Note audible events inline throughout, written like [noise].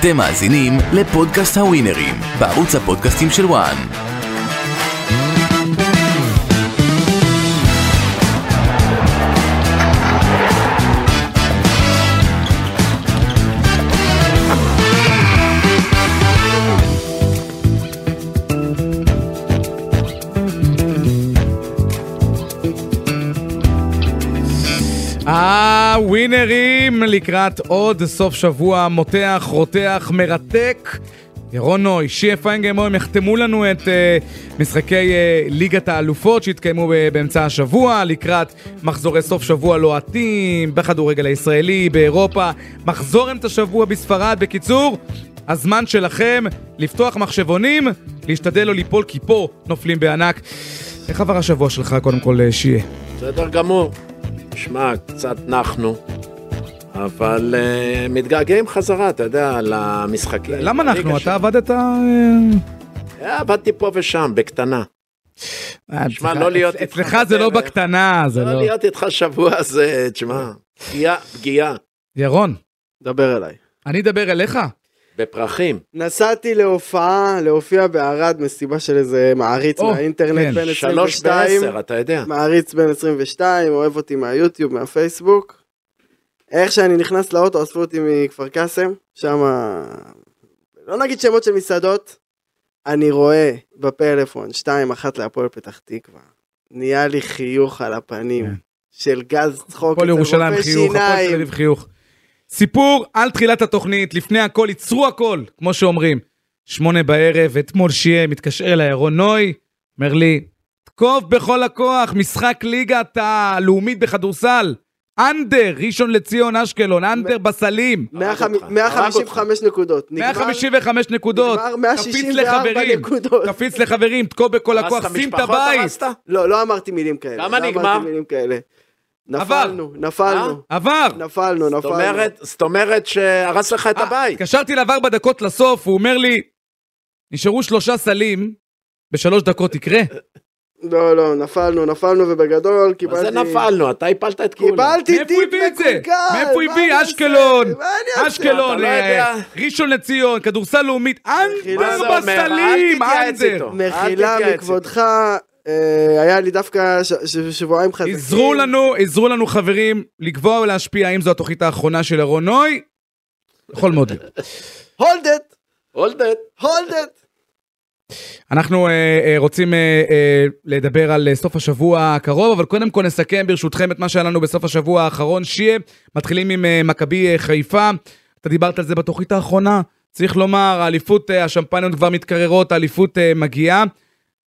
אתם מאזינים לפודקאסט הווינרים, בערוץ הפודקאסטים של וואן. הווינרים לקראת עוד סוף שבוע מותח, רותח, מרתק. ירון נוי, שיה פיינגרמור, הם יחתמו לנו את uh, משחקי uh, ליגת האלופות שהתקיימו ב- באמצע השבוע, לקראת מחזורי סוף שבוע לוהטים, בכדורגל הישראלי, באירופה, מחזור אמצע שבוע בספרד. בקיצור, הזמן שלכם לפתוח מחשבונים, להשתדל לא ליפול כי פה נופלים בענק. איך עבר השבוע שלך קודם כל, אה, שיה? בסדר גמור. שמע, קצת נחנו, אבל uh, מתגעגעים חזרה, אתה יודע, למשחקים. למה אנחנו? לליגה אתה שם. עבדת... אה, אה, עבדתי פה ושם, בקטנה. אה, שמע, אצלך- לא להיות אצ- איתך אצלך זה לא בדרך. בקטנה, זה לא לא... להיות איתך שבוע זה, תשמע, פגיעה, פגיעה. ירון, דבר אליי. כן, אני אדבר אליך. אוקיי, בפרחים. נסעתי להופעה, להופיע בערד, מסיבה של איזה מעריץ או, מהאינטרנט כן. בן שלוש 22, בעשר, אתה יודע. מעריץ בן 22, אוהב אותי מהיוטיוב, מהפייסבוק. איך שאני נכנס לאוטו, אספו אותי מכפר קאסם, שם, לא נגיד שמות של מסעדות, אני רואה בפלאפון 2-1 להפועל פתח תקווה. נהיה לי חיוך על הפנים, כן. של גז צחוק, הפועל אצל ירושלים רופא חיוך, הפועל תל שיניים. אביב חיוך. סיפור על תחילת התוכנית, לפני הכל, ייצרו הכל, כמו שאומרים. שמונה בערב, אתמול שיהיה, מתקשר אליי ירון נוי, אומר לי, תקוף בכל הכוח, משחק ליגת הלאומית בכדורסל. אנדר, ראשון לציון, אשקלון, אנדר בסלים. הרג אותך, 150 הרג 155 נקודות, נגמר 155 נקודות, נגמר תפיץ 164 לחברים, נקודות. תפיץ לחברים, תקוף בכל הרסת הכוח, שים את משפחות, הבית. הרסת? לא, לא אמרתי מילים כאלה. כמה לא נגמר? אה? אמרתי מילים כאלה. נפלנו, נפלנו, עבר! נפלנו, זאת נפלנו. אומרת, זאת אומרת שהרס לך את אה, הבית. התקשרתי אליו ארבע דקות לסוף, הוא אומר לי, נשארו שלושה סלים, בשלוש דקות יקרה. אה, לא, לא, נפלנו, נפלנו ובגדול מה זה קיבלתי... נלנו? אתה הפלת את כולם. קיבלתי מאיפה הוא טיפ הביא את זה? מקולקל! מאיפה הוא מה הביא? אני אעשה? אשקלון! מה אני אעשה? אשקלון, אתה לא אה, יודע. ראשון לציון, כדורסל לאומית, מה אנדר זה אומר? בסלים, אל תתייעץ אנדר. איתו. מחילה אל תתייעץ. מכבודך, אה, היה לי דווקא ש- ש- שבועיים חזקים. עזרו כאילו- לנו, עזרו לנו חברים לקבוע ולהשפיע האם זו התוכנית האחרונה של אירון נוי. יכול מאוד להיות. הולד את! הולדד. הולד את! אנחנו אה, אה, רוצים אה, אה, לדבר על אה, סוף השבוע הקרוב, אבל קודם כל נסכם ברשותכם את מה שהיה לנו בסוף השבוע האחרון, שיה. מתחילים עם אה, מכבי אה, חיפה, אתה דיברת על זה בתוכנית האחרונה, צריך לומר, האליפות, אה, השמפניות כבר מתקררות, האליפות אה, מגיעה,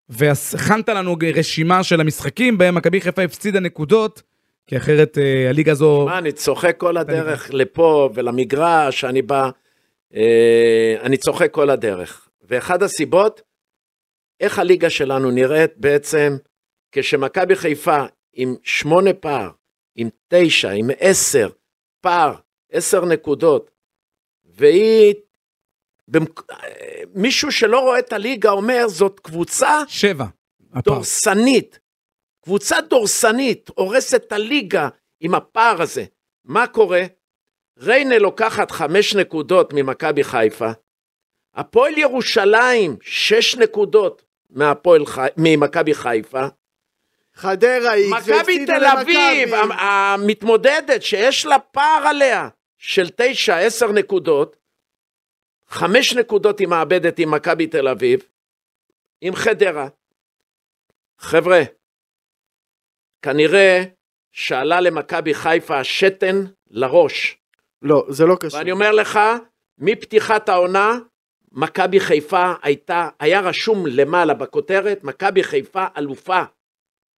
והכנת לנו רשימה של המשחקים בהם מכבי חיפה הפסידה נקודות, כי אחרת אה, הליגה הזו... מה, אני צוחק כל הדרך לפה ולמגרש, אני בא, אה, אני צוחק כל הדרך. ואחד הסיבות, איך הליגה שלנו נראית בעצם, כשמכבי חיפה עם שמונה פער, עם תשע, עם עשר, פער, עשר נקודות, והיא, במק... אה, מישהו שלא רואה את הליגה אומר, זאת קבוצה שבע. הפער. דורסנית. קבוצה דורסנית הורסת את הליגה עם הפער הזה. מה קורה? ריינה לוקחת חמש נקודות ממכבי חיפה. הפועל ירושלים, שש נקודות מהפועל חי... ממכבי חיפה. חדרה היא... מכבי תל אביב, אמ- המ- המתמודדת שיש לה פער עליה של תשע, עשר נקודות, חמש נקודות היא מאבדת עם מכבי תל אביב, עם חדרה. חבר'ה, כנראה שעלה למכבי חיפה השתן לראש. לא, זה לא קשור. ואני אומר לך, מפתיחת העונה, מכבי חיפה הייתה, היה רשום למעלה בכותרת, מכבי חיפה אלופה.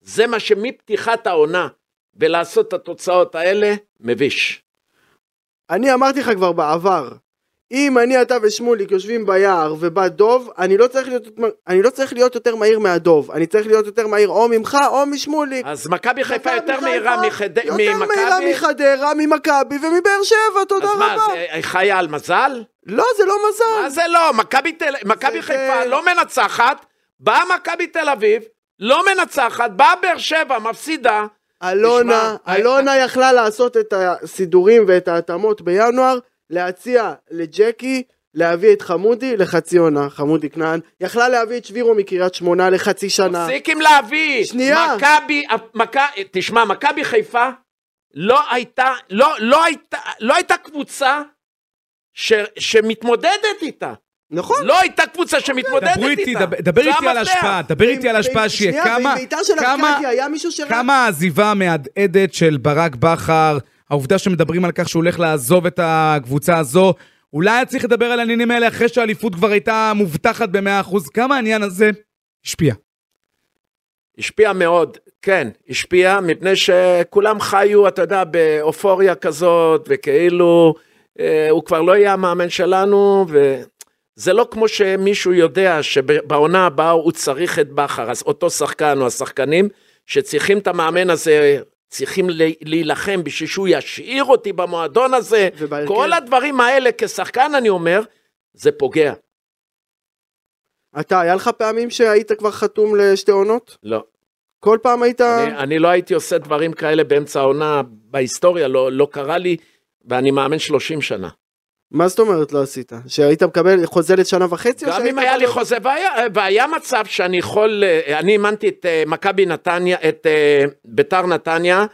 זה מה שמפתיחת העונה, ולעשות את התוצאות האלה, מביש. אני אמרתי לך כבר בעבר, אם אני, אתה ושמוליק יושבים ביער ובא דוב, אני לא צריך להיות, אני לא צריך להיות יותר מהיר מהדוב, אני צריך להיות יותר מהיר או ממך או משמוליק. אז מכבי חיפה יותר מכבי מהירה חיפה, מחד- יותר מהירה לא, ממכבי? מחדרה, ממכבי ומבאר שבע, תודה אז רבה. מה, זה- היא חיה על מזל? לא, זה לא מה מזל. זה לא? מכבי תל- מכבי זה- כן. חיפה לא מנצחת, באה מכבי תל אביב, לא מנצחת, באה באר שבע, מפסידה. אלונה, תשמע, אה, אלונה יכלה לעשות את הסידורים ואת ההתאמות בינואר, להציע לג'קי, להביא את חמודי לחצי עונה, חמודי כנען, יכלה להביא את שבירו מקריית שמונה לחצי שנה. תפסיק עם להביא. שנייה. מכבי, מכ- תשמע, מכבי חיפה לא הייתה, לא, לא הייתה, לא הייתה קבוצה ש, שמתמודדת איתה. נכון. לא הייתה קבוצה שמתמודדת דברו איתי, איתה. דבר- דבר זה איתי על המפתח. ההשפעה, דבר איתי על ההשפעה שיהיה. שנייה, כמה, ועם בעיטה של כמה- ארקדי היה מישהו שרק... כמה העזיבה המהדהדת של ברק בכר, העובדה שמדברים על כך שהוא הולך לעזוב את הקבוצה הזו, אולי היה צריך לדבר על העניינים האלה אחרי שהאליפות כבר הייתה מובטחת ב-100%, כמה העניין הזה השפיע. השפיע מאוד, כן, השפיע, מפני שכולם חיו, אתה יודע, באופוריה כזאת, וכאילו אה, הוא כבר לא יהיה המאמן שלנו, וזה לא כמו שמישהו יודע שבעונה הבאה הוא צריך את בכר, אז אותו שחקן או השחקנים שצריכים את המאמן הזה, צריכים ל- להילחם בשביל שהוא ישאיר אותי במועדון הזה, ובהרכב. כל הדברים האלה כשחקן, אני אומר, זה פוגע. אתה, היה לך פעמים שהיית כבר חתום לשתי עונות? לא. כל פעם היית... אני, אני לא הייתי עושה דברים כאלה באמצע העונה בהיסטוריה, לא, לא קרה לי, ואני מאמן 30 שנה. מה זאת אומרת לא עשית? שהיית מקבל חוזה לשנה וחצי? או גם שהיית אם היה לי מקבל- חוזה, והיה, והיה מצב שאני יכול, אה, אני אימנתי את אה, מכבי נתניה, את אה, ביתר נתניה,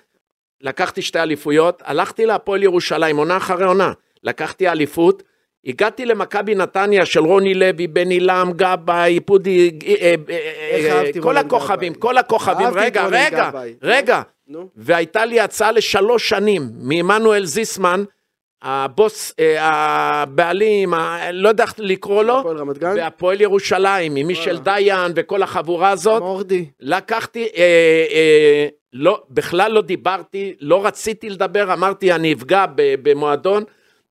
לקחתי שתי אליפויות, הלכתי להפועל ירושלים, עונה אחרי עונה, לקחתי אליפות, הגעתי למכבי נתניה של רוני לוי, בני לם, גבאי, פודי, אה, אה, איך אה, אהבתי כל רונן הכוכבים, גבאי. כל הכוכבים, אהבתי את רגע, רונן רגע, גבאי. רגע, נו. והייתה לי הצעה לשלוש שנים מעמנואל זיסמן, הבוס, אה, הבעלים, ה- לא יודע איך לקרוא לו, הפועל רמת גן? והפועל ירושלים, עם מישל דיין וכל החבורה הזאת, מורדי. לקחתי, אה, אה, לא, בכלל לא דיברתי, לא רציתי לדבר, אמרתי אני אפגע ב- במועדון.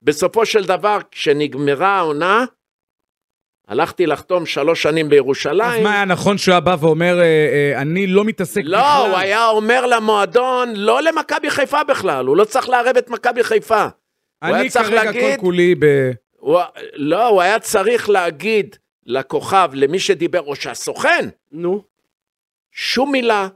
בסופו של דבר, כשנגמרה העונה, הלכתי לחתום שלוש שנים אז בירושלים. מה היה נכון שהוא היה בא ואומר, אה, אה, אני לא מתעסק בכלל. לא, הוא היה אומר למועדון, לא למכבי חיפה בכלל, הוא לא צריך לערב את מכבי חיפה. הוא היה אני צריך כרגע להגיד- כל כולי ב... הוא, לא, הוא היה צריך להגיד לכוכב, למי שדיבר, או שהסוכן, נו. שום מילה,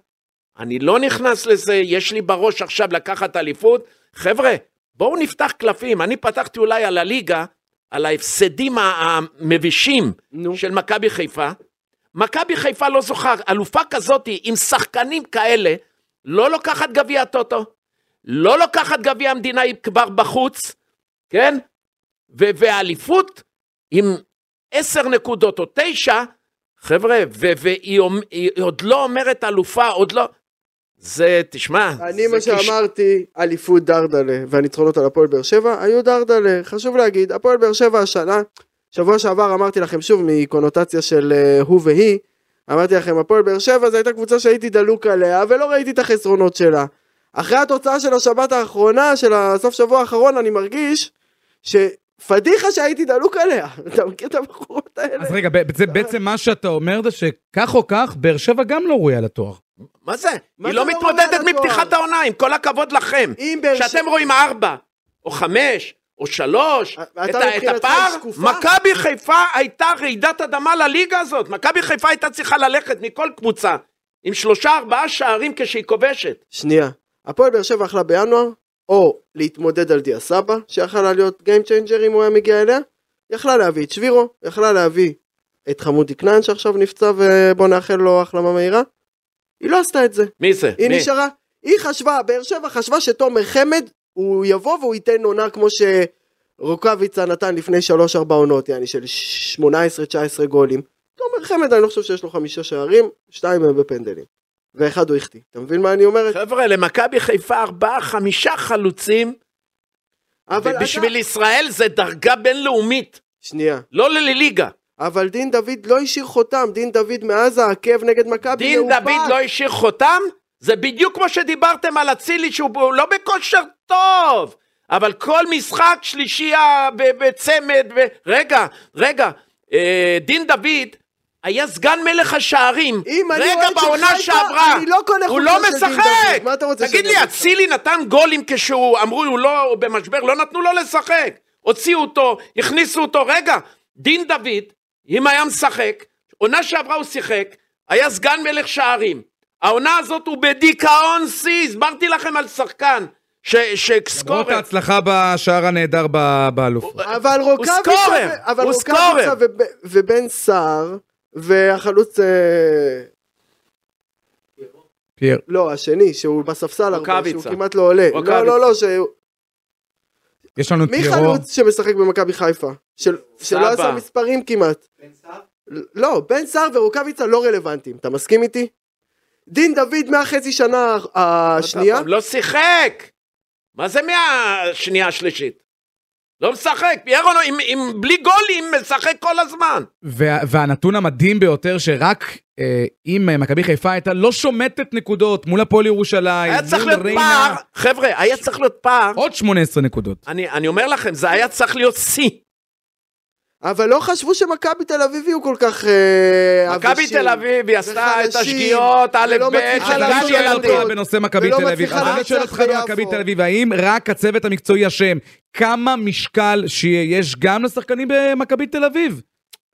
אני לא נכנס לזה, יש לי בראש עכשיו לקחת אליפות. חבר'ה, בואו נפתח קלפים, אני פתחתי אולי על הליגה, על ההפסדים ה- המבישים נו. של מכבי חיפה. מכבי חיפה לא זוכה, אלופה כזאת עם שחקנים כאלה, לא לוקחת גביע טוטו, לא לוקחת גביע המדינה היא כבר בחוץ, כן? ו- והאליפות עם עשר נקודות או תשע, חבר'ה, ו- והיא אומ- היא עוד לא אומרת אלופה, עוד לא... זה, תשמע, אני זה מה כיש- שאמרתי, אליפות דרדלה והניצחונות על הפועל באר שבע היו דרדלה. חשוב להגיד, הפועל באר שבע השנה, שבוע שעבר אמרתי לכם שוב מקונוטציה של אה, הוא והיא, אמרתי לכם, הפועל באר שבע זו הייתה קבוצה שהייתי דלוק עליה ולא ראיתי את החסרונות שלה. אחרי התוצאה של השבת האחרונה, של הסוף שבוע האחרון, אני מרגיש שפדיחה שהייתי דלוק עליה. [laughs] אתה מכיר את הבחורות האלה? אז רגע, ב- זה בעצם מה שאתה אומר זה שכך או כך, באר שבע גם לא ראויה לתואר. מה זה? מה היא זה לא לא מתמודדת רואה מפתיחת לתואר? העונה, עם כל הכבוד לכם. אם באר שבע... שאתם רואים ארבע, או חמש, או שלוש, אתה את, ה- את מבחינתך הפער, שקופה? מכבי חיפה הייתה רעידת אדמה לליגה הזאת. מכבי חיפה הייתה צריכה ללכת מכל קבוצה, עם שלושה ארבעה שערים כשהיא כובשת. שנייה, הפועל באר שבע אכלה בינואר, או להתמודד על דיה סבא, שיכלה להיות Game Changer אם הוא היה מגיע אליה, יכלה להביא את שבירו, יכלה להביא את חמודי כנען שעכשיו נפצע ובוא נאחל לו החלמה מהירה. היא לא עשתה את זה, מי זה? היא מי? נשארה, היא חשבה, באר שבע חשבה שתומר חמד, הוא יבוא והוא ייתן עונה כמו שרוקאביצה נתן לפני 3-4 עונות, יעני של 18-19 גולים. תומר חמד, אני לא חושב שיש לו חמישה שערים, שתיים הם בפנדלים. ואחד הוא החטיא, אתה מבין מה אני אומרת? חבר'ה, למכבי חיפה ארבעה, חמישה חלוצים, אבל ובשביל ישראל זה דרגה בינלאומית, שנייה. לא לליגה. אבל דין דוד לא השאיר חותם, דין דוד מאז העקב נגד מכבי, דין מאופק. דוד לא השאיר חותם? זה בדיוק כמו שדיברתם על אצילי שהוא ב- לא בכושר טוב, אבל כל משחק שלישייה ב- בצמד, ו... רגע, רגע, אה, דין דוד היה סגן מלך השערים, אם אני רגע אוהד של בעונה חיפה, שעברה, אני לא קונה הוא חולצה לא של דין משחק! דוד, מה אתה רוצה תגיד לי, שאני אגיד לך? אצילי נתן גולים כשהוא, אמרו, הוא לא, הוא במשבר, לא נתנו לו לשחק, הוציאו אותו, הכניסו אותו, רגע, דין דוד, אם היה משחק, עונה שעברה הוא שיחק, היה סגן מלך שערים. העונה הזאת הוא בדיכאון שיא, הסברתי לכם על שחקן ש- למרות שסקורר, ההצלחה בשער הנהדר ב- באלופות. אבל סקורר, רוקאביצה, ו- אבל הוא סקורר. רוקאביצה וב- ובן סער, והחלוץ, אה, פייר. לא, השני, שהוא בספסל הרבה, רוקאביצה. שהוא כמעט לא עולה. רוקאביצה. לא, לא, לא, שהוא... יש לנו את מי פיירו. חלוץ שמשחק במכבי חיפה? של- שלא עשה מספרים כמעט. לא, בן סער ורוקאביצה לא רלוונטיים, אתה מסכים איתי? דין דוד מהחצי שנה השנייה, לא שיחק! מה זה מהשנייה השלישית? לא משחק, פיירו לא- עם- עם- בלי גולים משחק כל הזמן. וה- והנתון המדהים ביותר שרק אה, אם אה, מכבי חיפה הייתה לא שומטת נקודות מול הפועל ירושלים, היה צריך מול להיות ריינה, פער, חבר'ה, היה צריך להיות פער. עוד 18 נקודות. אני אני אומר לכם, זה היה צריך להיות שיא. אבל לא חשבו שמכבי תל אביב יהיו כל כך... אה, מכבי עבשים. תל אביב, היא עשתה את וחלשים, השגיאות, א', ולא ב', מצליחה של לעשות גן אני שואל אותך ילדים. נקודות. בנושא מכבי ולא תל אביב, מצליחה אז אני שואל אותך לנצח במכבי ביפו. תל אביב, האם רק הצוות המקצועי אשם, כמה משקל שיש גם לשחקנים במכבי תל אביב?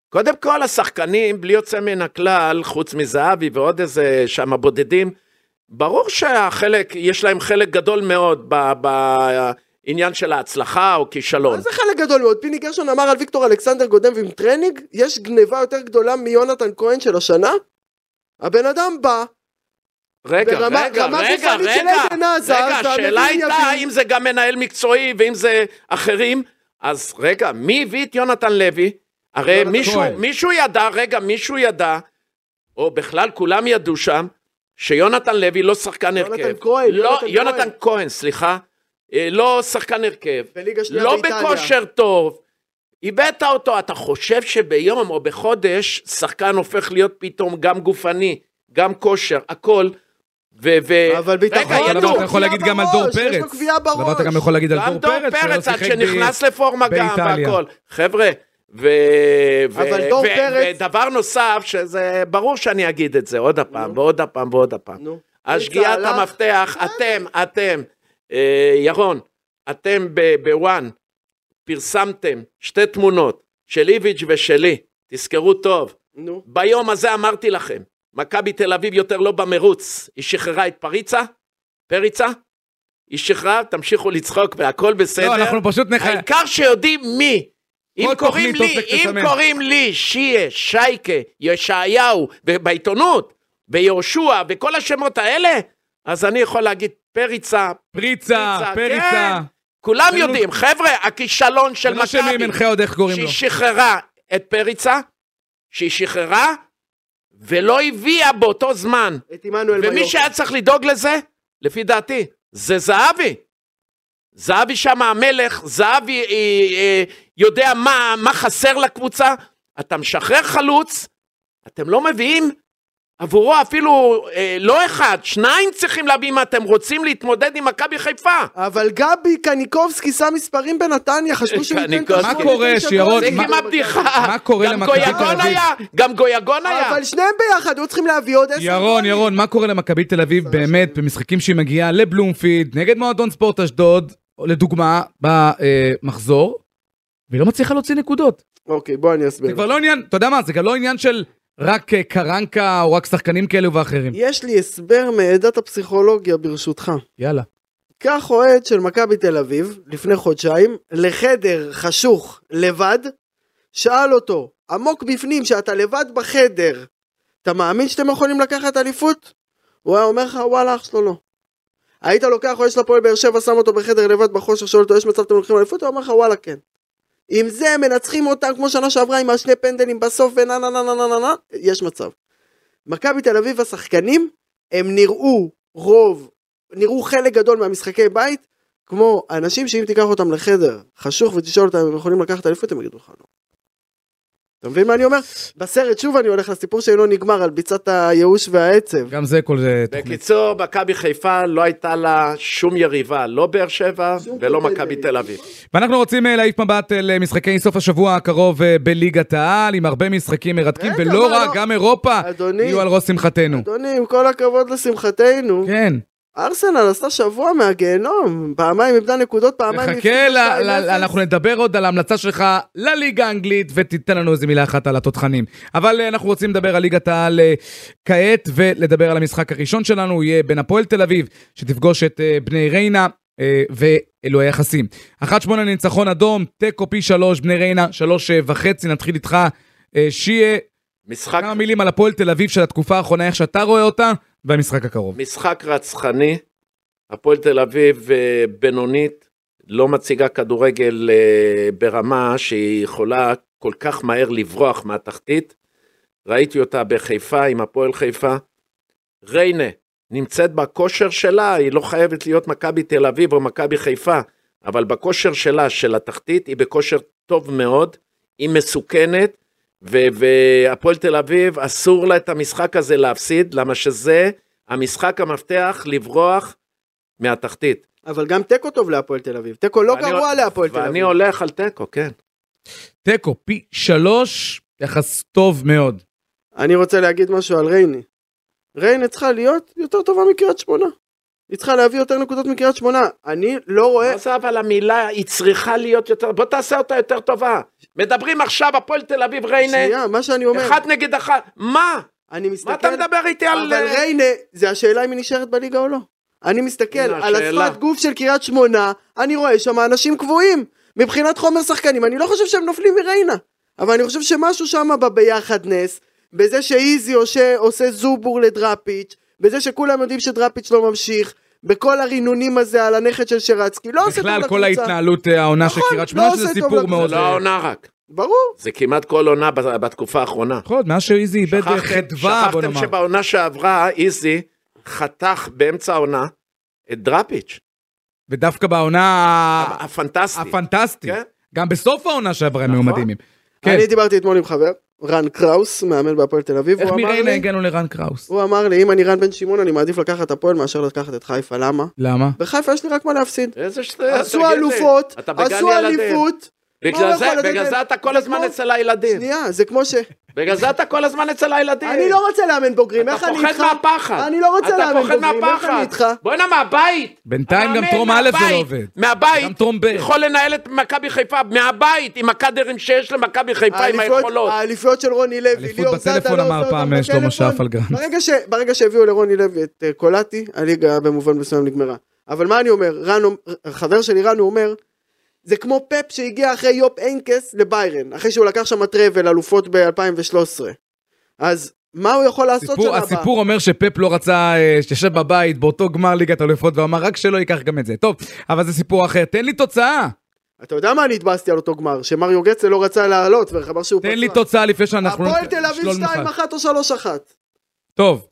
קודם כל, השחקנים, בלי יוצא מן הכלל, חוץ מזהבי ועוד איזה שם בודדים, ברור שהחלק, יש להם חלק גדול מאוד ב- בעניין של ההצלחה או כישלון. מה זה חלק גדול מאוד? פיני גרשון אמר על ויקטור אלכסנדר גודם ועם טרנינג, יש גניבה יותר גדולה מיונתן כהן של השנה? הבן אדם בא, רגע, ברמה- רגע, רמה רגע, גופנית של רגע, עדן עזר, רגע, השאלה והמבין הייתה יבין. אם זה גם מנהל מקצועי ואם זה אחרים, אז רגע, מי הביא את יונתן לוי? הרי יונתן מישהו, כהן. מישהו ידע, רגע, מישהו ידע, או בכלל כולם ידעו שם, שיונתן לוי לא שחקן יונתן הרכב. כהן, לא, יונתן יונתן כהן, סליחה, אה, לא שחקן הרכב. בליגה שנייה לא באיטליה. בכושר טוב. הבאת אותו, אתה חושב שביום או בחודש שחקן הופך להיות פתאום גם גופני, גם כושר, הכל. ו... ו... אבל ביטחון, רגע, אבל ידעו, אוקיי, אתה יכול גביע להגיד גם על בראש, דור יש לו פרץ. גביע בראש. דבר אתה גם יכול להגיד על גם דור פרץ, שלא פרץ עד שיחק ב- שנכנס לפורמה גם באיטליה. והכל. חבר'ה, ו... ו... אבל דור ו... פרץ- ודבר נוסף, שזה ברור שאני אגיד את זה עוד הפעם, ועוד הפעם, ועוד הפעם. נו. השגיאת ניצה, הלך. המפתח, אתם, אתם, אה, ירון, אתם ב- בוואן פרסמתם שתי תמונות של איביץ' ושלי, תזכרו טוב. נו. ביום הזה אמרתי לכם, מכבי תל אביב יותר לא במרוץ, היא שחררה את פריצה, פריצה, היא שחררה, תמשיכו לצחוק והכל בסדר. לא, אנחנו פשוט נח... העיקר שיודעים מי. אם כל קוראים תוכנית לי, אופק אם תסמן. קוראים לי שיה, שייקה, ישעיהו, ובעיתונות, ויהושע, וכל השמות האלה, אז אני יכול להגיד פריצה, פריצה, פריצה, פריצה. כן. כולם זה לא- יודעים. חבר'ה, הכישלון כן, של מנשה מימנחה מכבי, עוד איך קוראים שהיא לו. שחררה את פריצה, שהיא שחררה, ולא הביאה באותו זמן. את עמנואל ומי מיור. שהיה צריך לדאוג לזה, לפי דעתי, זה זהבי. זהבי שם המלך, זהבי אה, אה, יודע מה, מה חסר לקבוצה. אתה משחרר חלוץ, אתם לא מביאים עבורו אפילו אה, לא אחד, שניים צריכים להביא אם אתם רוצים להתמודד עם מכבי חיפה. אבל גבי קניקובסקי שם מספרים בנתניה, חשבו שהוא ייתן את קניקובסקי. ה- מה קורה, שירון? זה זה מה- כמעט בדיחה. [laughs] מה קורה גם למכבי תל גויגון אביב? היה, גם גויגון היה. אבל שניהם ביחד, היו צריכים להביא עוד עשר ירון, גולים. ירון, מה קורה למכבי תל אביב באמת במשחקים שהיא מגיעה לבלומפילד, נגד מועדון ספורט אשדוד, לדוגמה, במחזור, והיא לא מצליחה להוציא נקודות. אוקיי, בוא אני זה אסביר. כבר לא עניין, אתה יודע מה, זה גם לא עניין של רק אה, קרנקה או רק שחקנים כאלו ואחרים. יש לי הסבר מעדת הפסיכולוגיה ברשותך. יאללה. קח אוהד של מכבי תל אביב לפני חודשיים לחדר חשוך לבד, שאל אותו, עמוק בפנים שאתה לבד בחדר, אתה מאמין שאתם יכולים לקחת אליפות? הוא היה אומר לך וואלה אח שלו לא. היית לוקח אוהד של הפועל באר שבע שם אותו בחדר לבד בחושך שואל אותו יש מצב אתם לוקחים אליפות? הוא אומר לך וואלה כן. עם זה מנצחים אותם כמו שנה שעברה עם השני פנדלים בסוף ונה נה נה נה נה נה נה יש מצב. מכבי תל אביב השחקנים הם נראו רוב נראו חלק גדול מהמשחקי בית כמו אנשים שאם תיקח אותם לחדר חשוך ותשאל אותם אם הם יכולים לקחת אליפות הם יגידו לך לא. אתה מבין מה אני אומר? בסרט שוב אני הולך לסיפור שלא נגמר על ביצת הייאוש והעצב. גם זה כל זה כן. תוכנית. בקיצור, מכבי חיפה לא הייתה לה שום יריבה, לא באר שבע שום ולא פוטנציאל. מכבי תל אביב. ואנחנו רוצים אה, להעיף מבט אה, למשחקי סוף השבוע הקרוב אה, בליגת העל, עם הרבה משחקים מרתקים, רגע, ולא מה, רק, לא- גם אירופה, אדוני, יהיו על ראש שמחתנו. אדוני עם כל הכבוד לשמחתנו, כן. ארסנל עשתה שבוע מהגיהנום, פעמיים איבדה נקודות, פעמיים חכה, ל- הפסידה ל- 2-0. אנחנו נדבר עוד על ההמלצה שלך לליגה האנגלית ותיתן לנו איזה מילה אחת על התותחנים. אבל אה, אנחנו רוצים לדבר על ליגת העל אה, כעת ולדבר על המשחק הראשון שלנו, יהיה בין הפועל תל אביב שתפגוש את אה, בני ריינה אה, ואלו היחסים. 1-8 ניצחון אדום, תיקו פי 3, בני ריינה 3.5, נתחיל איתך. אה, שיה, משחק, כמה מילים על הפועל תל אביב של התקופה האחרונה, איך שאתה רואה אותה, והמשחק הקרוב. משחק רצחני, הפועל תל אביב אה, בינונית, לא מציגה כדורגל אה, ברמה שהיא יכולה כל כך מהר לברוח מהתחתית. ראיתי אותה בחיפה עם הפועל חיפה. ריינה נמצאת בכושר שלה, היא לא חייבת להיות מכבי תל אביב או מכבי חיפה, אבל בכושר שלה, של התחתית, היא בכושר טוב מאוד, היא מסוכנת, ו- והפועל תל אביב, אסור לה את המשחק הזה להפסיד, למה שזה המשחק המפתח לברוח מהתחתית. אבל גם תיקו טוב להפועל תל אביב. תיקו לא ואני- גרוע להפועל תל ואני אביב. הולך על תיקו, כן. תיקו פי 3, יחס טוב מאוד. אני רוצה להגיד משהו על ריינה. ריינה צריכה להיות יותר טובה מקריית שמונה. היא צריכה להביא יותר נקודות מקריית שמונה. אני לא רואה... מה זה אבל המילה, היא צריכה להיות יותר, בוא תעשה אותה יותר טובה. מדברים עכשיו, הפועל תל אביב ריינה, שנייה, מה שאני אומר, אחד נגד אחת, מה? אני מה אתה מסתכל... מדבר איתי על... אה, אבל ריינה, זה השאלה אם היא נשארת בליגה או לא. אני מסתכל הנה, על השאלה. השפת גוף של קריית שמונה, אני רואה שם אנשים קבועים. מבחינת חומר שחקנים, אני לא חושב שהם נופלים מריינה. אבל אני חושב שמשהו שם בביחדנס, בזה שאיזי עושה, עושה זובור לדראפיץ', בזה שכולם יודעים שדראפיץ' לא ממשיך, בכל הרינונים הזה על הנכד של שרצקי, לא עושה טוב בכלל, לקבוצה. כל ההתנהלות אה, העונה של נכון, קריית לא שמונה, שזה עושה טוב סיפור לקבוצה. מאוד... אה, זה לא העונה רק, ברור. זה כמעט כל עונה ב- בתקופה האחרונה. נכון, מאז שאיזי איבד אה, חדווה, בוא שכחתם נאמר. שבעונה שעברה איזי חתך באמצע העונה את דראפיץ', ודווקא בעונה הפנטסטי. הפנטסטית. כן. גם בסוף העונה שעברה הם היו נכון. מדהימים. כן. אני דיברתי אתמול עם חבר, רן קראוס, מאמן בהפועל תל אביב, איך הוא אמר מריינה לי- הגענו לרן קראוס? הוא אמר לי, אם אני רן בן שמעון, אני מעדיף לקחת הפועל מאשר לקחת את חיפה, למה? למה? בחיפה יש לי רק מה להפסיד. איזה שטויות. תגיד עשו לי. אלופות, אתה בגן עשו ילדים. אליפות. מה בגלל הוא לא זה, יכול לתת בגלל להם? זה אתה כל זה הזמן כמו- אצל הילדים. שנייה, זה כמו ש... בגלל זה אתה כל הזמן אצל הילדים. אני לא רוצה לאמן בוגרים, אתה איך אני איתך? פוחד מהפחד. אני לא רוצה אתה לאמן פוחד בוגרים, איך אני מהפחד. איתך? בואנה, מהבית. בינתיים גם המאמן טרום א' זה לא מהבית, עובד. מהבית, גם טרום ב'. יכול לנהל את מכבי חיפה מהבית, עם הקאדרים שיש למכבי חיפה, עם האליפויות- היכולות. האליפויות של רוני לוי, אליפות ליאור זאדה, בטלפון לא אמר עושה אותם פעם, אה, שלמה בטלפון. שרף על גרנט. ברגע ש- ברגע שהביאו לרוני לוי את אה, קולטי, הליגה במובן מסוים נגמרה. אבל מה אני אומר, רן, אומ- חבר שלי רן הוא אומר, זה כמו פפ שהגיע אחרי יופ אינקס לביירן, אחרי שהוא לקח שם טראבל אלופות ב-2013. אז מה הוא יכול לעשות סיפור- שנה הבאה? הסיפור אומר שפפ לא רצה, אה, שישב בבית באותו גמר ליגת אלופות ואמר רק שלא ייקח גם את זה. טוב, אבל זה סיפור אחר. תן לי תוצאה. אתה יודע מה אני התבאסתי על אותו גמר? שמריו גצל לא רצה לעלות, ואמר שהוא תן לי תוצאה לא- לפני שאנחנו... הפועל תל אביב נשלול ממך. 2-1 או 3-1. טוב,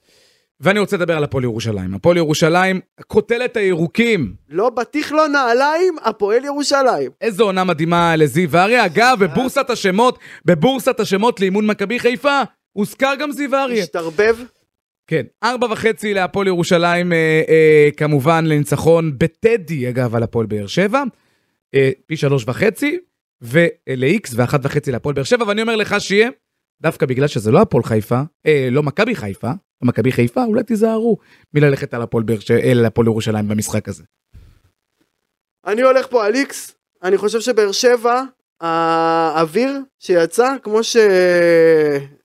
ואני רוצה לדבר על הפועל ירושלים. הפועל ירושלים, קוטלת הירוקים. לא בטיח לא נעליים, הפועל ירושלים. איזו עונה מדהימה לזיו אריה. אגב, בבורסת השמות, בבורסת השמות לאימון מכבי חיפה, הוזכר גם זיו אריה. השתרבב. כן, ארבע וחצי להפועל ירושלים, אה, אה, כמובן לניצחון בטדי, אגב, על הפועל באר שבע, אה, פי שלוש וחצי, ול-X ואחת וחצי להפועל באר שבע, ואני אומר לך שיהיה, דווקא בגלל שזה לא הפועל חיפה, אה, לא מכבי חיפה, לא מכבי חיפה, אולי תיזהרו מללכת על הפועל באר שבע, אל הפועל ירושלים במשחק הזה. אני הולך פה על איקס, אני חושב שבאר שבע, האוויר שיצא, כמו ש...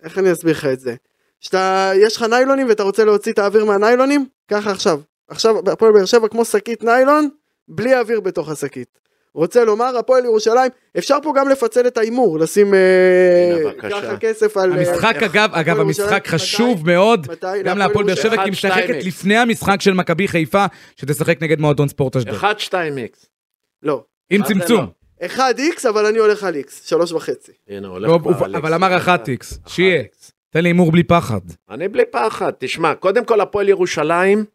איך אני אסביר לך את זה? שאתה, יש לך ניילונים ואתה רוצה להוציא את האוויר מהניילונים? ככה עכשיו. עכשיו הפועל באר שבע כמו שקית ניילון, בלי אוויר בתוך השקית. רוצה לומר, הפועל ירושלים, אפשר פה גם לפצל את ההימור, לשים אה, הנה, בבקשה. ככה כסף על... אה, המשחק, אגב, אגב, ירושלים, המשחק מתי? חשוב מאוד, מתי? גם להפועל באר שבע, כי היא ירושלים. משחקת 1-2. לפני המשחק של מכבי חיפה, שתשחק נגד מועדון ספורט אשדוד. 1-2x. לא. עם מה זה צמצום. לא? 1x, אבל אני הולך על x, שלוש וחצי. הנה, הולך לא, כבר על אבל X. אמר 1x, אחת שיהיה, X. תן לי הימור בלי פחד. אני בלי פחד. תשמע, קודם כל הפועל ירושלים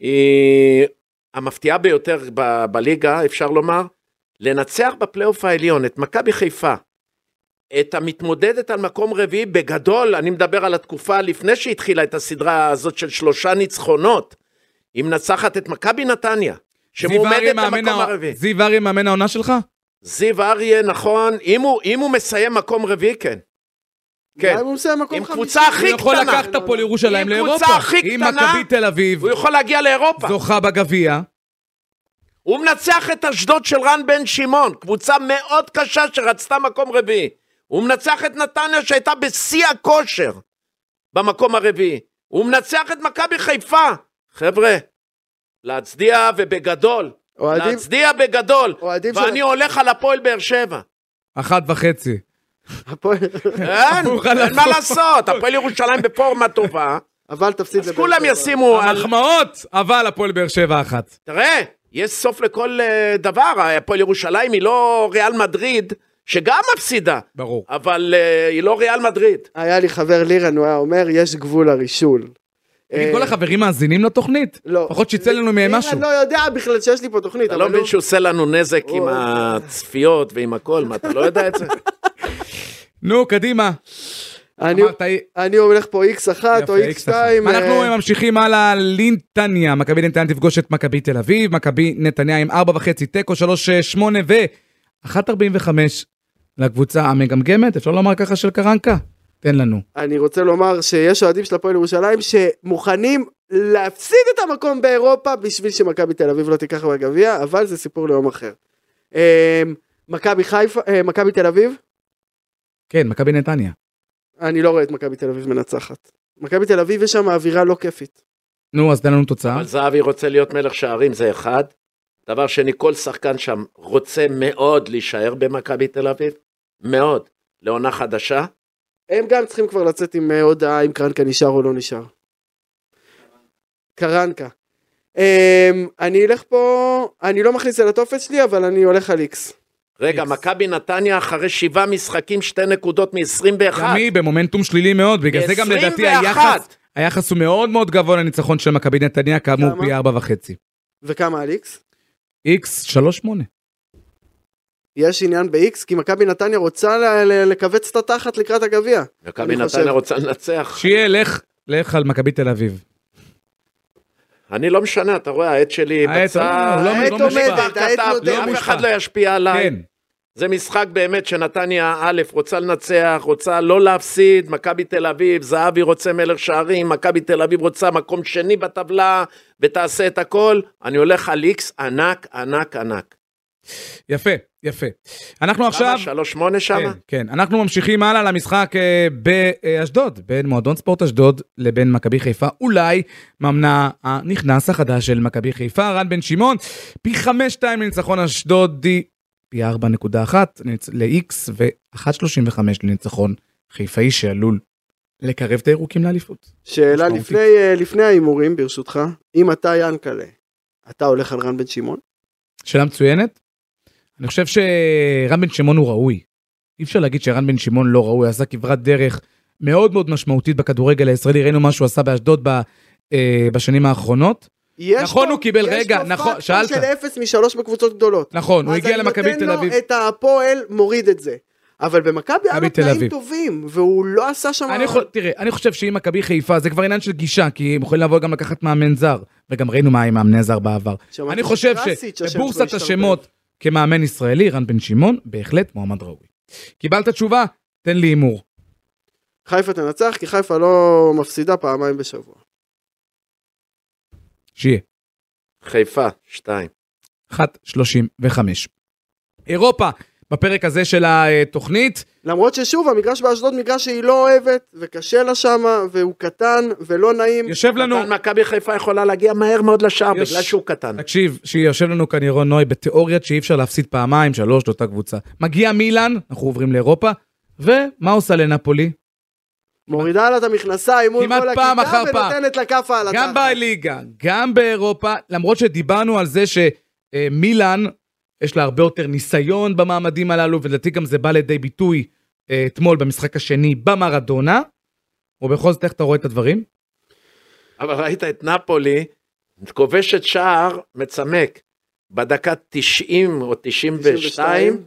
היא המפתיעה ביותר ב- בליגה, אפשר לומר. לנצח בפלייאוף העליון את מכבי חיפה, את המתמודדת על מקום רביעי בגדול, אני מדבר על התקופה לפני שהתחילה את הסדרה הזאת של שלושה ניצחונות. היא מנצחת את מכבי נתניה, זיו אריה שמועמדת מאמן למקום הע- הרביעי. זיו אריה מאמן העונה שלך? זיו אריה, נכון, אם הוא, אם הוא מסיים מקום רביעי, כן. כן. גם אם הוא מסיים מקום עם חמישי. קבוצה הוא הכי יכול קטנה. לקחת פה לירושלים היא לאירופה. הקבוצה הכי אם קטנה. מכבי תל אביב הוא יכול להגיע לאירופה. זוכה בגביע, הוא מנצח את אשדוד של רן בן שמעון, קבוצה מאוד קשה שרצתה מקום רביעי. הוא מנצח את נתניה שהייתה בשיא הכושר במקום הרביעי. הוא מנצח את מכבי חיפה. חבר'ה, להצדיע ובגדול. אוהדים, להצדיע בגדול, אוהדים ואני של הולך על הפועל באר [laughs] שבע. אחת וחצי. הפועל, אין, הפוך על אין מה הפוך. לעשות, הפועל ירושלים בפורמה [laughs] טובה, אבל תפסיד אז לבאר כולם שבע. ישימו על... המחמאות, אבל הפועל באר שבע אחת. תראה, יש סוף לכל אה, דבר, הפועל ירושלים היא לא ריאל מדריד, שגם מפסידה, ברור. אבל אה, היא לא ריאל מדריד. היה לי חבר לירן, הוא היה אומר, יש גבול לרישול. אה, אה, תגיד, כל החברים מאזינים לתוכנית? לא. לפחות שיצא לנו מהם משהו. לירן לא יודע בכלל שיש לי פה תוכנית, אתה לא אבל מבין הוא... שהוא עושה לנו נזק עם אוי. הצפיות ועם הכל, מה, אתה לא [laughs] יודע את זה? נו, קדימה. אני- אמרת, אני הולך פה איקס אחת או יפה, איקס איקס אחת. שתיים. אה, אנחנו ממשיכים הלאה לנתניה. מכבי נתניה תפגוש את מכבי תל אביב. מכבי נתניה עם 4.5 תיקו, אה, 3.8 ו-1.45 לקבוצה המגמגמת, אפשר לומר ככה, של קרנקה? תן לנו. אני רוצה לומר שיש אוהדים של הפועל ירושלים שמוכנים להפסיד את המקום באירופה בשביל שמכבי תל אביב לא תיקח בגביע, אבל זה סיפור ליום אחר. אמ, מכבי חיפה, אה, מכבי תל אביב, כן, מכבי נתניה. אני לא רואה את מכבי תל אביב מנצחת. מכבי תל אביב יש שם אווירה לא כיפית. נו, אז תן לנו תוצאה. אבל זהבי רוצה להיות מלך שערים, זה אחד. דבר שני, כל שחקן שם רוצה מאוד להישאר במכבי תל אביב, מאוד, לעונה חדשה. הם גם צריכים כבר לצאת עם אה, הודעה אם קרנקה נשאר או לא נשאר. קרנקה. אמ, אני אלך פה, אני לא מכניס אל הטופס שלי, אבל אני הולך על איקס. רגע, Yes. מכבי נתניה אחרי שבעה משחקים, שתי נקודות מ-21. גם היא במומנטום שלילי מאוד, בגלל זה גם לדעתי היחס, היחס הוא מאוד מאוד גבוה לניצחון של מכבי נתניה, כאמור כמה? פי ארבע וחצי. וכמה על איקס? איקס שלוש שמונה. יש עניין ב-X, כי מכבי נתניה רוצה ל- ל- לכווץ את התחת לקראת הגביע. מכבי אני חושב. נתניה רוצה לנצח. שיהיה, לך, לך על מכבי תל אביב. אני לא משנה, אתה רואה, העט שלי העט, בצד. לא, לא, העט לא עומדת, מושפע. העט כתב, לא נותן. אף מושפע. אחד לא ישפיע עליי. כן. זה משחק באמת שנתניה א' רוצה לנצח, רוצה לא להפסיד, מכבי תל אביב, זהבי רוצה מלך שערים, מכבי תל אביב רוצה מקום שני בטבלה, ותעשה את הכל. אני הולך על איקס ענק, ענק, ענק. יפה, יפה. אנחנו עכשיו... כמה? שלוש שמונה כן, שמה? כן, אנחנו ממשיכים הלאה למשחק אה, באשדוד, בין מועדון ספורט אשדוד לבין מכבי חיפה, אולי מאמנה הנכנס החדש של מכבי חיפה, רן בן שמעון, פי 5-2 לניצחון אשדודי, פי 4.1 לניצ- ל-X ו-1.35 לניצחון חיפאי שעלול לקרב את הירוקים לאליפות. שאלה משמעותית. לפני, אה, לפני ההימורים, ברשותך, אם אתה ינקלה, אתה הולך על רן בן שמעון? שאלה מצוינת. אני חושב שרן בן שמעון הוא ראוי. אי אפשר להגיד שרן בן שמעון לא ראוי, עשה כברת דרך מאוד מאוד משמעותית בכדורגל הישראלי, ראינו מה שהוא עשה באשדוד ב, אה, בשנים האחרונות. יש נכון, לו- הוא קיבל, רגע, נכון, יש לו פקטור שאלת. של 0 מ-3 בקבוצות גדולות. נכון, הוא הגיע למכבי תל אז אני אביב. נותן לו את הפועל, מוריד את זה. אבל במכבי היה לו מכבי תל תנאים אביב. טובים, והוא לא עשה שם... אני חו- תראה, אני חושב שאם מכבי חיפה, זה כבר עניין של גישה, כי הם יכולים לבוא גם לקחת מאמן זר, וגם ראינו מה עם מאמני זר בעבר. שמעתי אני חושב שקרסיץ' השם שלו שבבורסת השתרבב. השמות כמאמן ישראלי, רן בן שמעון, בהחלט מועמד ראוי. קיבלת תשובה? תן לי הימור. חיפה תנצח, כי חיפה לא מפסידה פעמיים בשבוע. שיהיה. חיפה, שתיים. 1.35. אירופה, בפרק הזה של התוכנית, למרות ששוב, המגרש באשדוד מגרש שהיא לא אוהבת, וקשה לה שמה, והוא קטן, ולא נעים. יושב לנו, קטן, מכבי חיפה יכולה להגיע מהר מאוד לשער, יש- בגלל שהוא קטן. תקשיב, שיושב לנו כאן ירון נוי בתיאוריית שאי אפשר להפסיד פעמיים, שלוש לאותה קבוצה. מגיע מילאן, אנחנו עוברים לאירופה, ומה עושה לנפולי? מורידה לה את המכנסיים מול כמעט כל פעם הכיתה אחר פעם. ונותנת לה כאפה על גם התחת. בליגה, גם באירופה, למרות שדיברנו על זה שמילאן, יש לה הרבה יותר ניסיון במעמדים הללו, ולדעתי גם זה בא לידי ביטוי אה, אתמול במשחק השני במרדונה, ובכל זאת איך אתה רואה את הדברים? אבל ראית את נפולי, כובשת שער, מצמק. בדקה 90 או 92,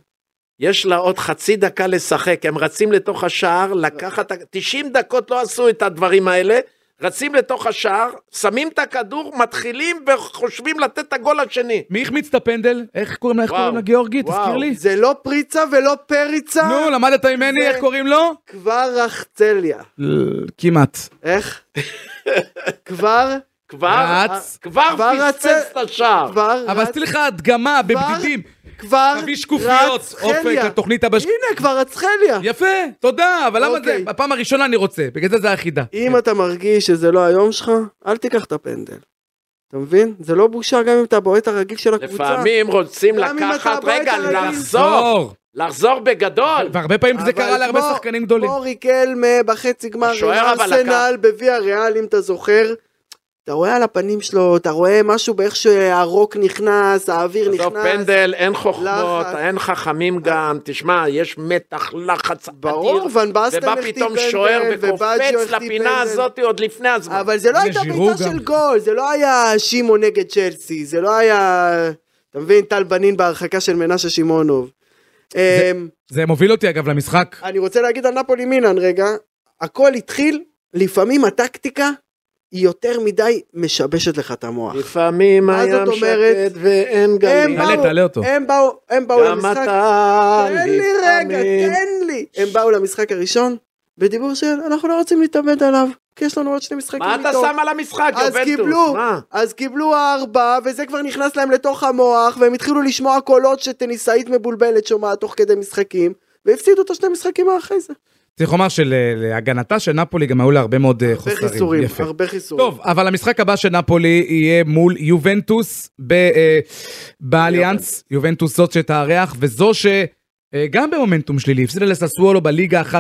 יש לה עוד חצי דקה לשחק, הם רצים לתוך השער, לקחת, 90 דקות לא עשו את הדברים האלה, רצים לתוך השער, שמים את הכדור, מתחילים וחושבים לתת את הגול השני. מי החמיץ את הפנדל? איך קוראים לה? איך וואו, קוראים לה גיאורגי? וואו. תזכיר לי. זה לא פריצה ולא פריצה, נו, למדת ממני זה- איך קוראים לו? כבר רחצליה. כמעט. איך? כבר, כבר, רץ. כבר כבר רצה- פספס את השער. כבר, אבל רצ- עשיתי לך הדגמה בבדידים. כבר, תביא שקופיות, אופק, רצחליה. לתוכנית הבא. ש- הנה, כבר רצחליה. יפה, תודה, אבל למה זה? אוקיי. בפעם הראשונה אני רוצה, בגלל זה זה החידה. אם אתה מרגיש שזה לא היום שלך, אל תיקח את הפנדל. אתה מבין? זה לא בושה גם אם אתה הבועט הרגיל של הקבוצה. לפעמים רוצים גם אם אתה לקחת, הבית רגע, הרגיל. לחזור, אור. לחזור בגדול. והרבה פעמים זה אבל קרה להרבה כמו- שחקנים גדולים. כמו ריקלמה בחצי גמר, השוער עם אבל ארסנל בוויה ריאל, אם אתה זוכר. אתה רואה על הפנים שלו, אתה רואה משהו באיך שהרוק נכנס, האוויר נכנס. עזוב פנדל, אין חוכמות, לחץ. אין חכמים גם, תשמע, יש מתח, לחץ אדיר. ברור, ון בסטן ובא פתאום שוער ובאג'יו וקופץ החטיא לפינה פנדל. הזאת עוד לפני הזמן. אבל זה לא הייתה וז'ירו בעיטה גם. של גול, זה לא היה שמעון נגד צ'לסי, זה לא היה... אתה מבין, טל בנין בהרחקה של מנשה שמעונוב. אמ, זה מוביל אותי אגב למשחק. אני רוצה להגיד על נפולי מילאן רגע, הכל התחיל, לפעמים הטקטיקה היא יותר מדי משבשת לך את המוח. לפעמים מה זאת הים אומרת? שקט ואין גלים. הם תעלה, באו- תעלה אותו. הם באו, הם באו גם למשחק, אתה תן לי רגע, תן לי. הם באו למשחק הראשון, בדיבור של אנחנו לא רוצים להתאבד עליו, כי יש לנו עוד שני משחקים מה אתה איתו. שם על המשחק, אז יובנטוס? קיבלו, מה? אז קיבלו ארבע, וזה כבר נכנס להם לתוך המוח, והם התחילו לשמוע קולות שטניסאית מבולבלת שומעת תוך כדי משחקים, והפסידו את השני משחקים האחרי זה. צריך לומר שלהגנתה של נפולי גם היו לה הרבה מאוד אה, הרבה חוסרים. חיסורים, יפה. הרבה חיסורים. טוב, אבל המשחק הבא של נפולי יהיה מול יובנטוס ב, אה, באליאנס, יובנטוס זאת שתארח, וזו שגם במומנטום שלילי, הפסידה לססוולו בליגה 1-0,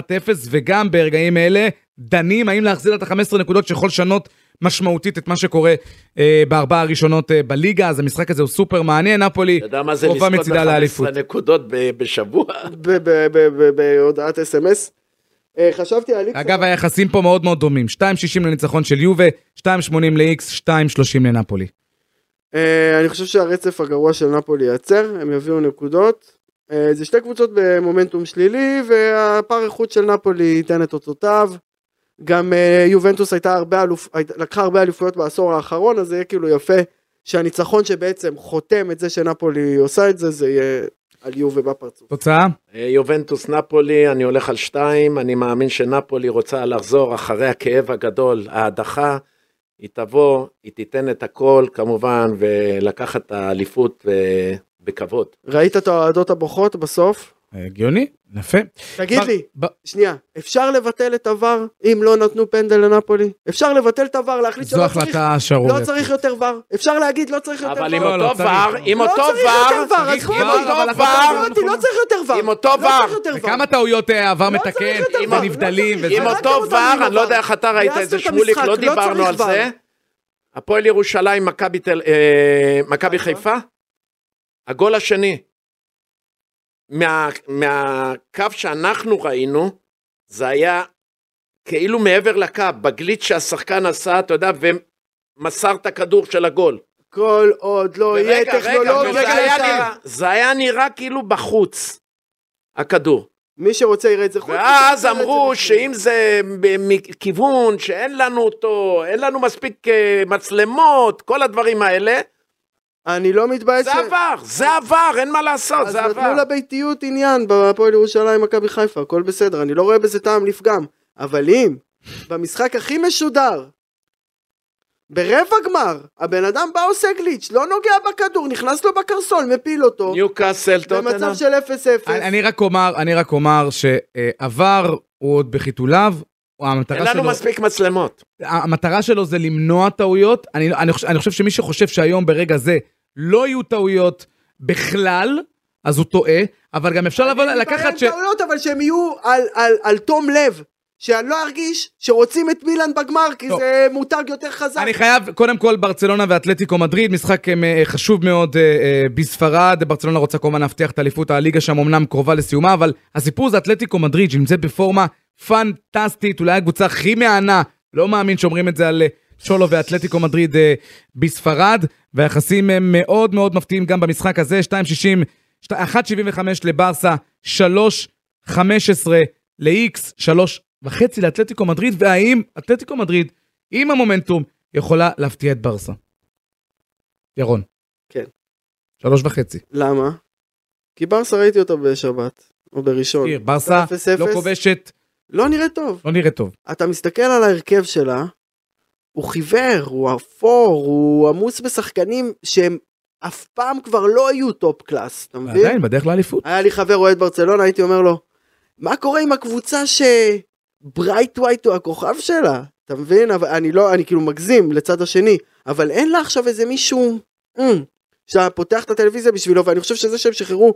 וגם ברגעים אלה דנים האם להחזיר לה את ה-15 נקודות שיכול לשנות משמעותית את מה שקורה אה, בארבע הראשונות אה, בליגה, אז המשחק הזה הוא סופר מעניין, נפולי אתה יודע מה זה קרובה לזכות מצידה לאליפות. ב-15 נקודות ב- בשבוע? [laughs] ב- ב- ב- ב- בהודעת אס.אם.אס. אה, חשבתי על איקס, אגב, היחסים פה מאוד מאוד דומים, 2.60 לניצחון של יובה, 2.80 ל-X, 2.30 לנפולי. אה, אני חושב שהרצף הגרוע של נפולי ייעצר, הם יביאו נקודות. אה, זה שתי קבוצות במומנטום שלילי, והפער איכות של נפולי ייתן את אותותיו. גם אה, יובנטוס הייתה הרבה אלופ... היית- לקחה הרבה אליפויות בעשור האחרון, אז זה יהיה כאילו יפה שהניצחון שבעצם חותם את זה שנפולי עושה את זה, זה יהיה על יובה בפרצוף. תוצאה? אה, יובנטוס נפולי, אני הולך על שתיים, אני מאמין שנפולי רוצה לחזור אחרי הכאב הגדול, ההדחה. היא תבוא, היא תיתן את הכל כמובן, ולקחת את האליפות אה, בכבוד. ראית את האוהדות הבוכות בסוף? אה, הגיוני, יפה. תגיד כבר- לי, ב- שנייה, אפשר לבטל את הוואר אם לא נתנו פנדל לנפולי? אפשר לבטל את הוואר, להחליט זו שלא צריך, החלטה לא שערורייתית. צריך יותר וואר. אפשר להגיד לא צריך יותר אבל וואר. עם לא, לא, אותו צריך. ור, עם לא אותו צריך יותר ור, ור, צריך עזבו ור, אותי, אבל לא החלטה צריך ור. אותי, לא צריך יותר ור. עם אותו לא ור. צריך יותר ור. וכמה טעויות אה, עבר לא מתקן, צריך יותר עם ור, לא הנבדלים צריך. וזה. עם רק אותו אותו ור, דבר. אני לא יודע איך אתה ראית יעשו את זה, את שמוליק, המשחק, לא לא דיברנו צריך על ור. זה. הפועל ירושלים, מכבי תל- אה, מכבי חיפה, הגול השני. מה- מהקו שאנחנו ראינו, זה היה כאילו מעבר לקו, בגליץ' שהשחקן עשה, אתה יודע, ומסר את הכדור של הגול. כל עוד לא ורגע, יהיה רגע, וזה טכנולוגיה היה יותר. נראה- זה היה נראה כאילו בחוץ, הכדור. מי שרוצה יראה את זה חוץ. ואז מי שרוצה אמרו יראה את זה שאם בפנים. זה מכיוון שאין לנו אותו, אין לנו מספיק אה, מצלמות, כל הדברים האלה, אני לא מתבייש. זה ש- עבר, זה עבר, אין מה לעשות, אז זה נתנו עבר. לביתיות עניין בהפועל ירושלים, מכבי חיפה, הכל בסדר, אני לא רואה בזה טעם לפגם. אבל אם, במשחק הכי משודר, ברבע גמר, הבן אדם בא עושה גליץ', לא נוגע בכדור, נכנס לו בקרסול, מפיל אותו, ניוקאסל, טוטנאם. במצב של 0-0. אני אני רק אומר, אני רק אומר שעבר הוא עוד בחיתוליו, הוא- אין המטרה לנו שלו, מספיק מצלמות. המטרה שלו זה למנוע טעויות. אני, לא- אני, חושב, אני חושב שמי שחושב שהיום ברגע זה לא יהיו טעויות בכלל, אז הוא טועה, אבל גם אפשר לבוא לקחת ש... אני טעויות, אבל שהם יהיו על, על, על תום לב. שאני לא ארגיש שרוצים את מילאן בגמר, כי לא. זה מותג יותר חזק. אני חייב, קודם כל ברצלונה ואתלטיקו מדריד, משחק אה, חשוב מאוד אה, אה, בספרד, ברצלונה רוצה כמובן להבטיח את אליפות הליגה שם אמנם קרובה לסיומה, אבל הסיפור זה אתלטיקו מדריד שנמצאת בפורמה פנטסטית, אולי הקבוצה הכי מהנה, לא מאמין שאומרים את זה על אה, שולו ואתלטיקו מדריד אה, בספרד, והיחסים הם מאוד מאוד מפתיעים גם במשחק הזה, 2.60, 1.75 לברסה, 3.15 ל-X, 3.5 לאתלטיקו מדריד, והאם אתלטיקו מדריד עם המומנטום, יכולה להפתיע את ברסה. ירון. כן. שלוש וחצי. למה? כי ברסה ראיתי אותה בשבת, או בראשון. תראה, ברסה אפס, אפס. לא כובשת, לא נראה טוב. לא נראה טוב. אתה מסתכל על ההרכב שלה, הוא חיוור, הוא אפור, הוא עמוס בשחקנים שהם אף פעם כבר לא היו טופ קלאס, אתה מבין? עדיין בדרך לאליפות. היה לי חבר אוהד ברצלונה, הייתי אומר לו, מה קורה עם הקבוצה שברייט ווייט הוא הכוכב שלה? אתה מבין? אבל אני לא, אני כאילו מגזים לצד השני, אבל אין לה עכשיו איזה מישהו, mm, שאתה פותח את הטלוויזיה בשבילו, ואני חושב שזה שהם שחררו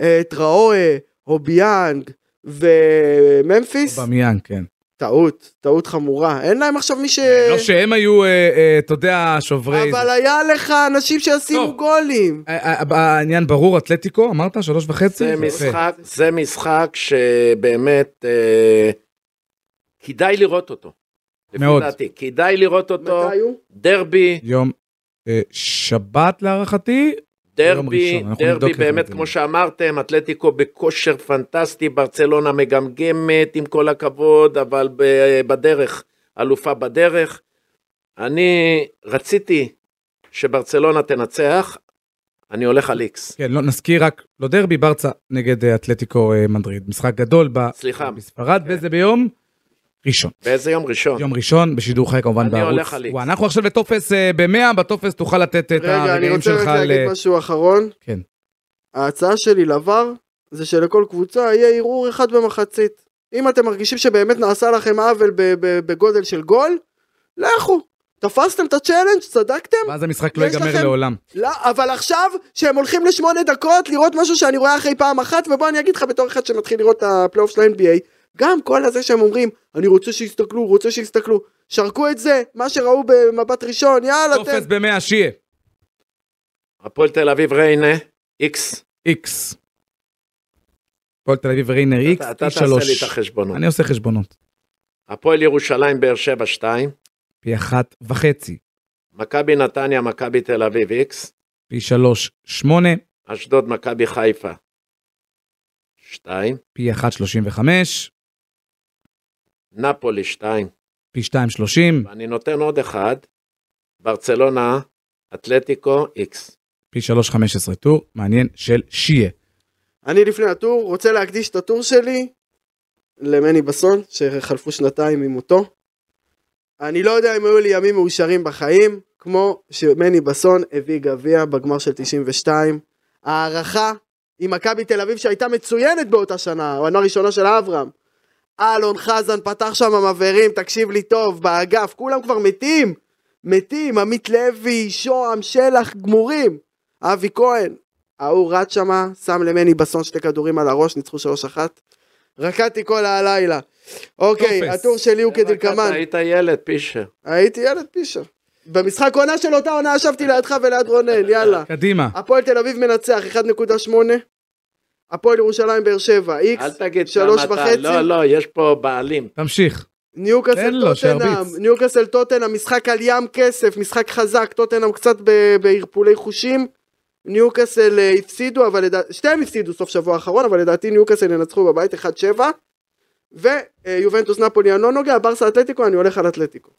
אה, את ראואה, או ביאנג, וממפיס, במיין, כן. טעות, טעות חמורה, אין להם עכשיו מי ש... לא שהם היו, אה, אה, אתה יודע, שוברי... אבל היה לך אנשים שישימו טוב. גולים. אה, אה, העניין ברור, אתלטיקו, אמרת? שלוש וחצי? זה יפה. משחק, זה משחק שבאמת אה, כדאי לראות אותו. לפי מאוד. דעתי, כדאי לראות אה, אותו. מתי הוא? דרבי, יום אה, שבת להערכתי, יום דרבי, ראשון, אנחנו נבדוק דרבי את זה, באמת, זה כמו לא. שאמרתם, אתלטיקו בכושר פנטסטי, ברצלונה מגמגמת, עם כל הכבוד, אבל ב- בדרך, אלופה בדרך. אני רציתי שברצלונה תנצח, אני הולך על איקס. כן, לא, נזכיר רק, לא דרבי, ברצה נגד אה, אתלטיקו אה, מדריד. משחק גדול ב... סליחה. כן. בספרד, וזה ביום ראשון. באיזה יום ראשון? יום ראשון, בשידור חי כמובן אני בערוץ. הולך על איקס. וואו, אנחנו עכשיו בטופס אה, ב-100, בטופס תוכל לתת את רגע, אני הרגעים רוצה שלך רק ל... להגיד משהו אחרון. כן. ההצעה שלי לVAR זה שלכל קבוצה יהיה ערעור אחד במחצית. אם אתם מרגישים שבאמת נעשה לכם עוול ב- ב- בגודל של גול, לכו. תפסתם את הצ'אלנג', צדקתם, ואז המשחק לא יש ייגמר לכם- לעולם. לא, אבל עכשיו שהם הולכים לשמונה דקות לראות משהו שאני רואה אחרי פעם אחת, ובוא אני אגיד לך בתור אחד שמתחיל לראות את הפלייאוף של ה-NBA, גם כל הזה שהם אומרים, אני רוצה שיסתכלו, רוצה שיסתכלו, שרקו את זה, מה שראו במבט ראשון, יאללה, תן. טופס ב-100, שיהיה. הפועל תל אביב ריינה, איקס. איקס. פועל תל אביב ריינר איקס, אתה אתה אי תעשה לי את שלוש. החשבונות. אני עושה חשבונות. הפועל ירושלים, באר שבע, שתיים. פי אחת וחצי, מכבי נתניה, מכבי תל אביב, איקס. פי שלוש, שמונה, אשדוד, מכבי חיפה, שתיים. פי אחת, שלושים וחמש, נפולי, שתיים. פי שתיים, שלושים, ואני נותן עוד אחד, ברצלונה, אתלטיקו, איקס. פי שלוש, חמש עשרה טור, מעניין, של שיה. אני לפני הטור רוצה להקדיש את הטור שלי למני בסון שחלפו שנתיים ממותו. אני לא יודע אם היו לי ימים מאושרים בחיים כמו שמני בסון הביא גביע בגמר של 92. הערכה עם מכבי תל אביב שהייתה מצוינת באותה שנה, העונה הראשונה של אברהם. אלון חזן פתח שם מבערים, תקשיב לי טוב, באגף, כולם כבר מתים, מתים, עמית לוי, שוהם, שלח, גמורים, אבי כהן, ההוא רץ שמה, שם למני בסון שתי כדורים על הראש, ניצחו 3-1. רקדתי כל הלילה. אוקיי, טופס. הטור שלי אה, הוא כדלקמן. אתה היית ילד, פישר. הייתי ילד פישר. במשחק עונה של אותה עונה ישבתי לידך וליד [laughs] רונן, יאללה. קדימה. הפועל תל אביב מנצח 1.8, הפועל ירושלים באר שבע, איקס, אל תגיד שלוש כמה אתה... וחצי. לא, לא, יש פה בעלים. תמשיך. תן ניוקאסל לו, טוטנאם, שירביץ. ניוקאסל טוטנאם, משחק על ים כסף, משחק חזק, טוטנאם קצת ב- בערפולי חושים, ניוקאסל אה, הפסידו, אבל לדעתי, שתיהם הפסידו סוף שבוע האחרון, אבל לדעתי ניוקאסל ינצחו בבית 1-7, ויובנטוס אה, נפולי אני לא נוגע, ברסה אתלטיקו, אני הולך על אתלטיקו.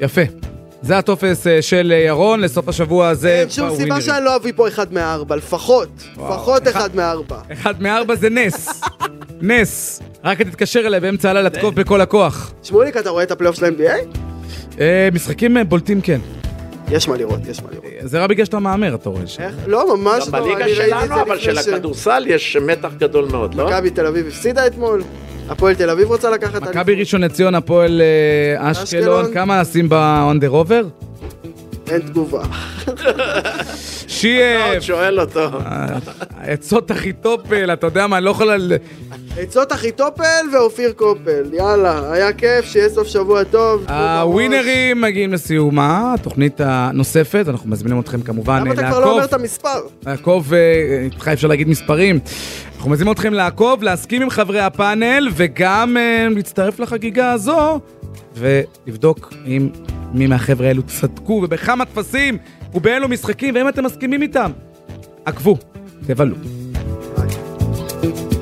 יפה. זה הטופס אה, של אה, ירון לסוף השבוע הזה. אין שום סיבה שאני לא אביא פה אחד מארבע, לפחות, לפחות אחד מארבע. אחד מארבע זה נס. [laughs] נס. רק תתקשר אליי באמצע הלילה, תקוף בכל הכוח. שמוליק, אתה רואה את הפלייאוף של ה-NBA? אה, משחקים אה, בולטים כן. יש מה לראות, יש מה לראות. אה, זה רק בגלל שאתה מהמר, אתה רואה. ש- איך? לא, ממש גם לא. בליגה אני ראיתי את שלנו, זה אבל לפני של ש- הכדורסל יש מתח גדול מאוד, לא? מכבי תל אביב הפסידה אתמול, הפועל תל אביב רוצה לקחת... מכבי ראשון לציון, הפועל אה, אשקלון, אשקלון. כמה נשים ב-on the rover? ראשון. אין תגובה. שיהיה, מאוד שואל אותו. [laughs] העצות הכי טופל, אתה יודע מה, אני לא יכול... על- עצות אחיטופל ואופיר קופל, יאללה, היה כיף, שיהיה סוף שבוע טוב. תנו בראש. הווינרים מגיעים לסיומה, התוכנית הנוספת, אנחנו מזמינים אתכם כמובן למה אה, אתה כבר לא לעקוב. אומר את המספר? לעקוב, אה, איתך אפשר להגיד מספרים. אנחנו מזמינים אתכם לעקוב, להסכים עם חברי הפאנל, וגם אה, להצטרף לחגיגה הזו, ולבדוק אם מי מהחבר'ה האלו צדקו, ובכמה טפסים, ובאילו משחקים, ואם אתם מסכימים איתם. עקבו, תבלו. ביי.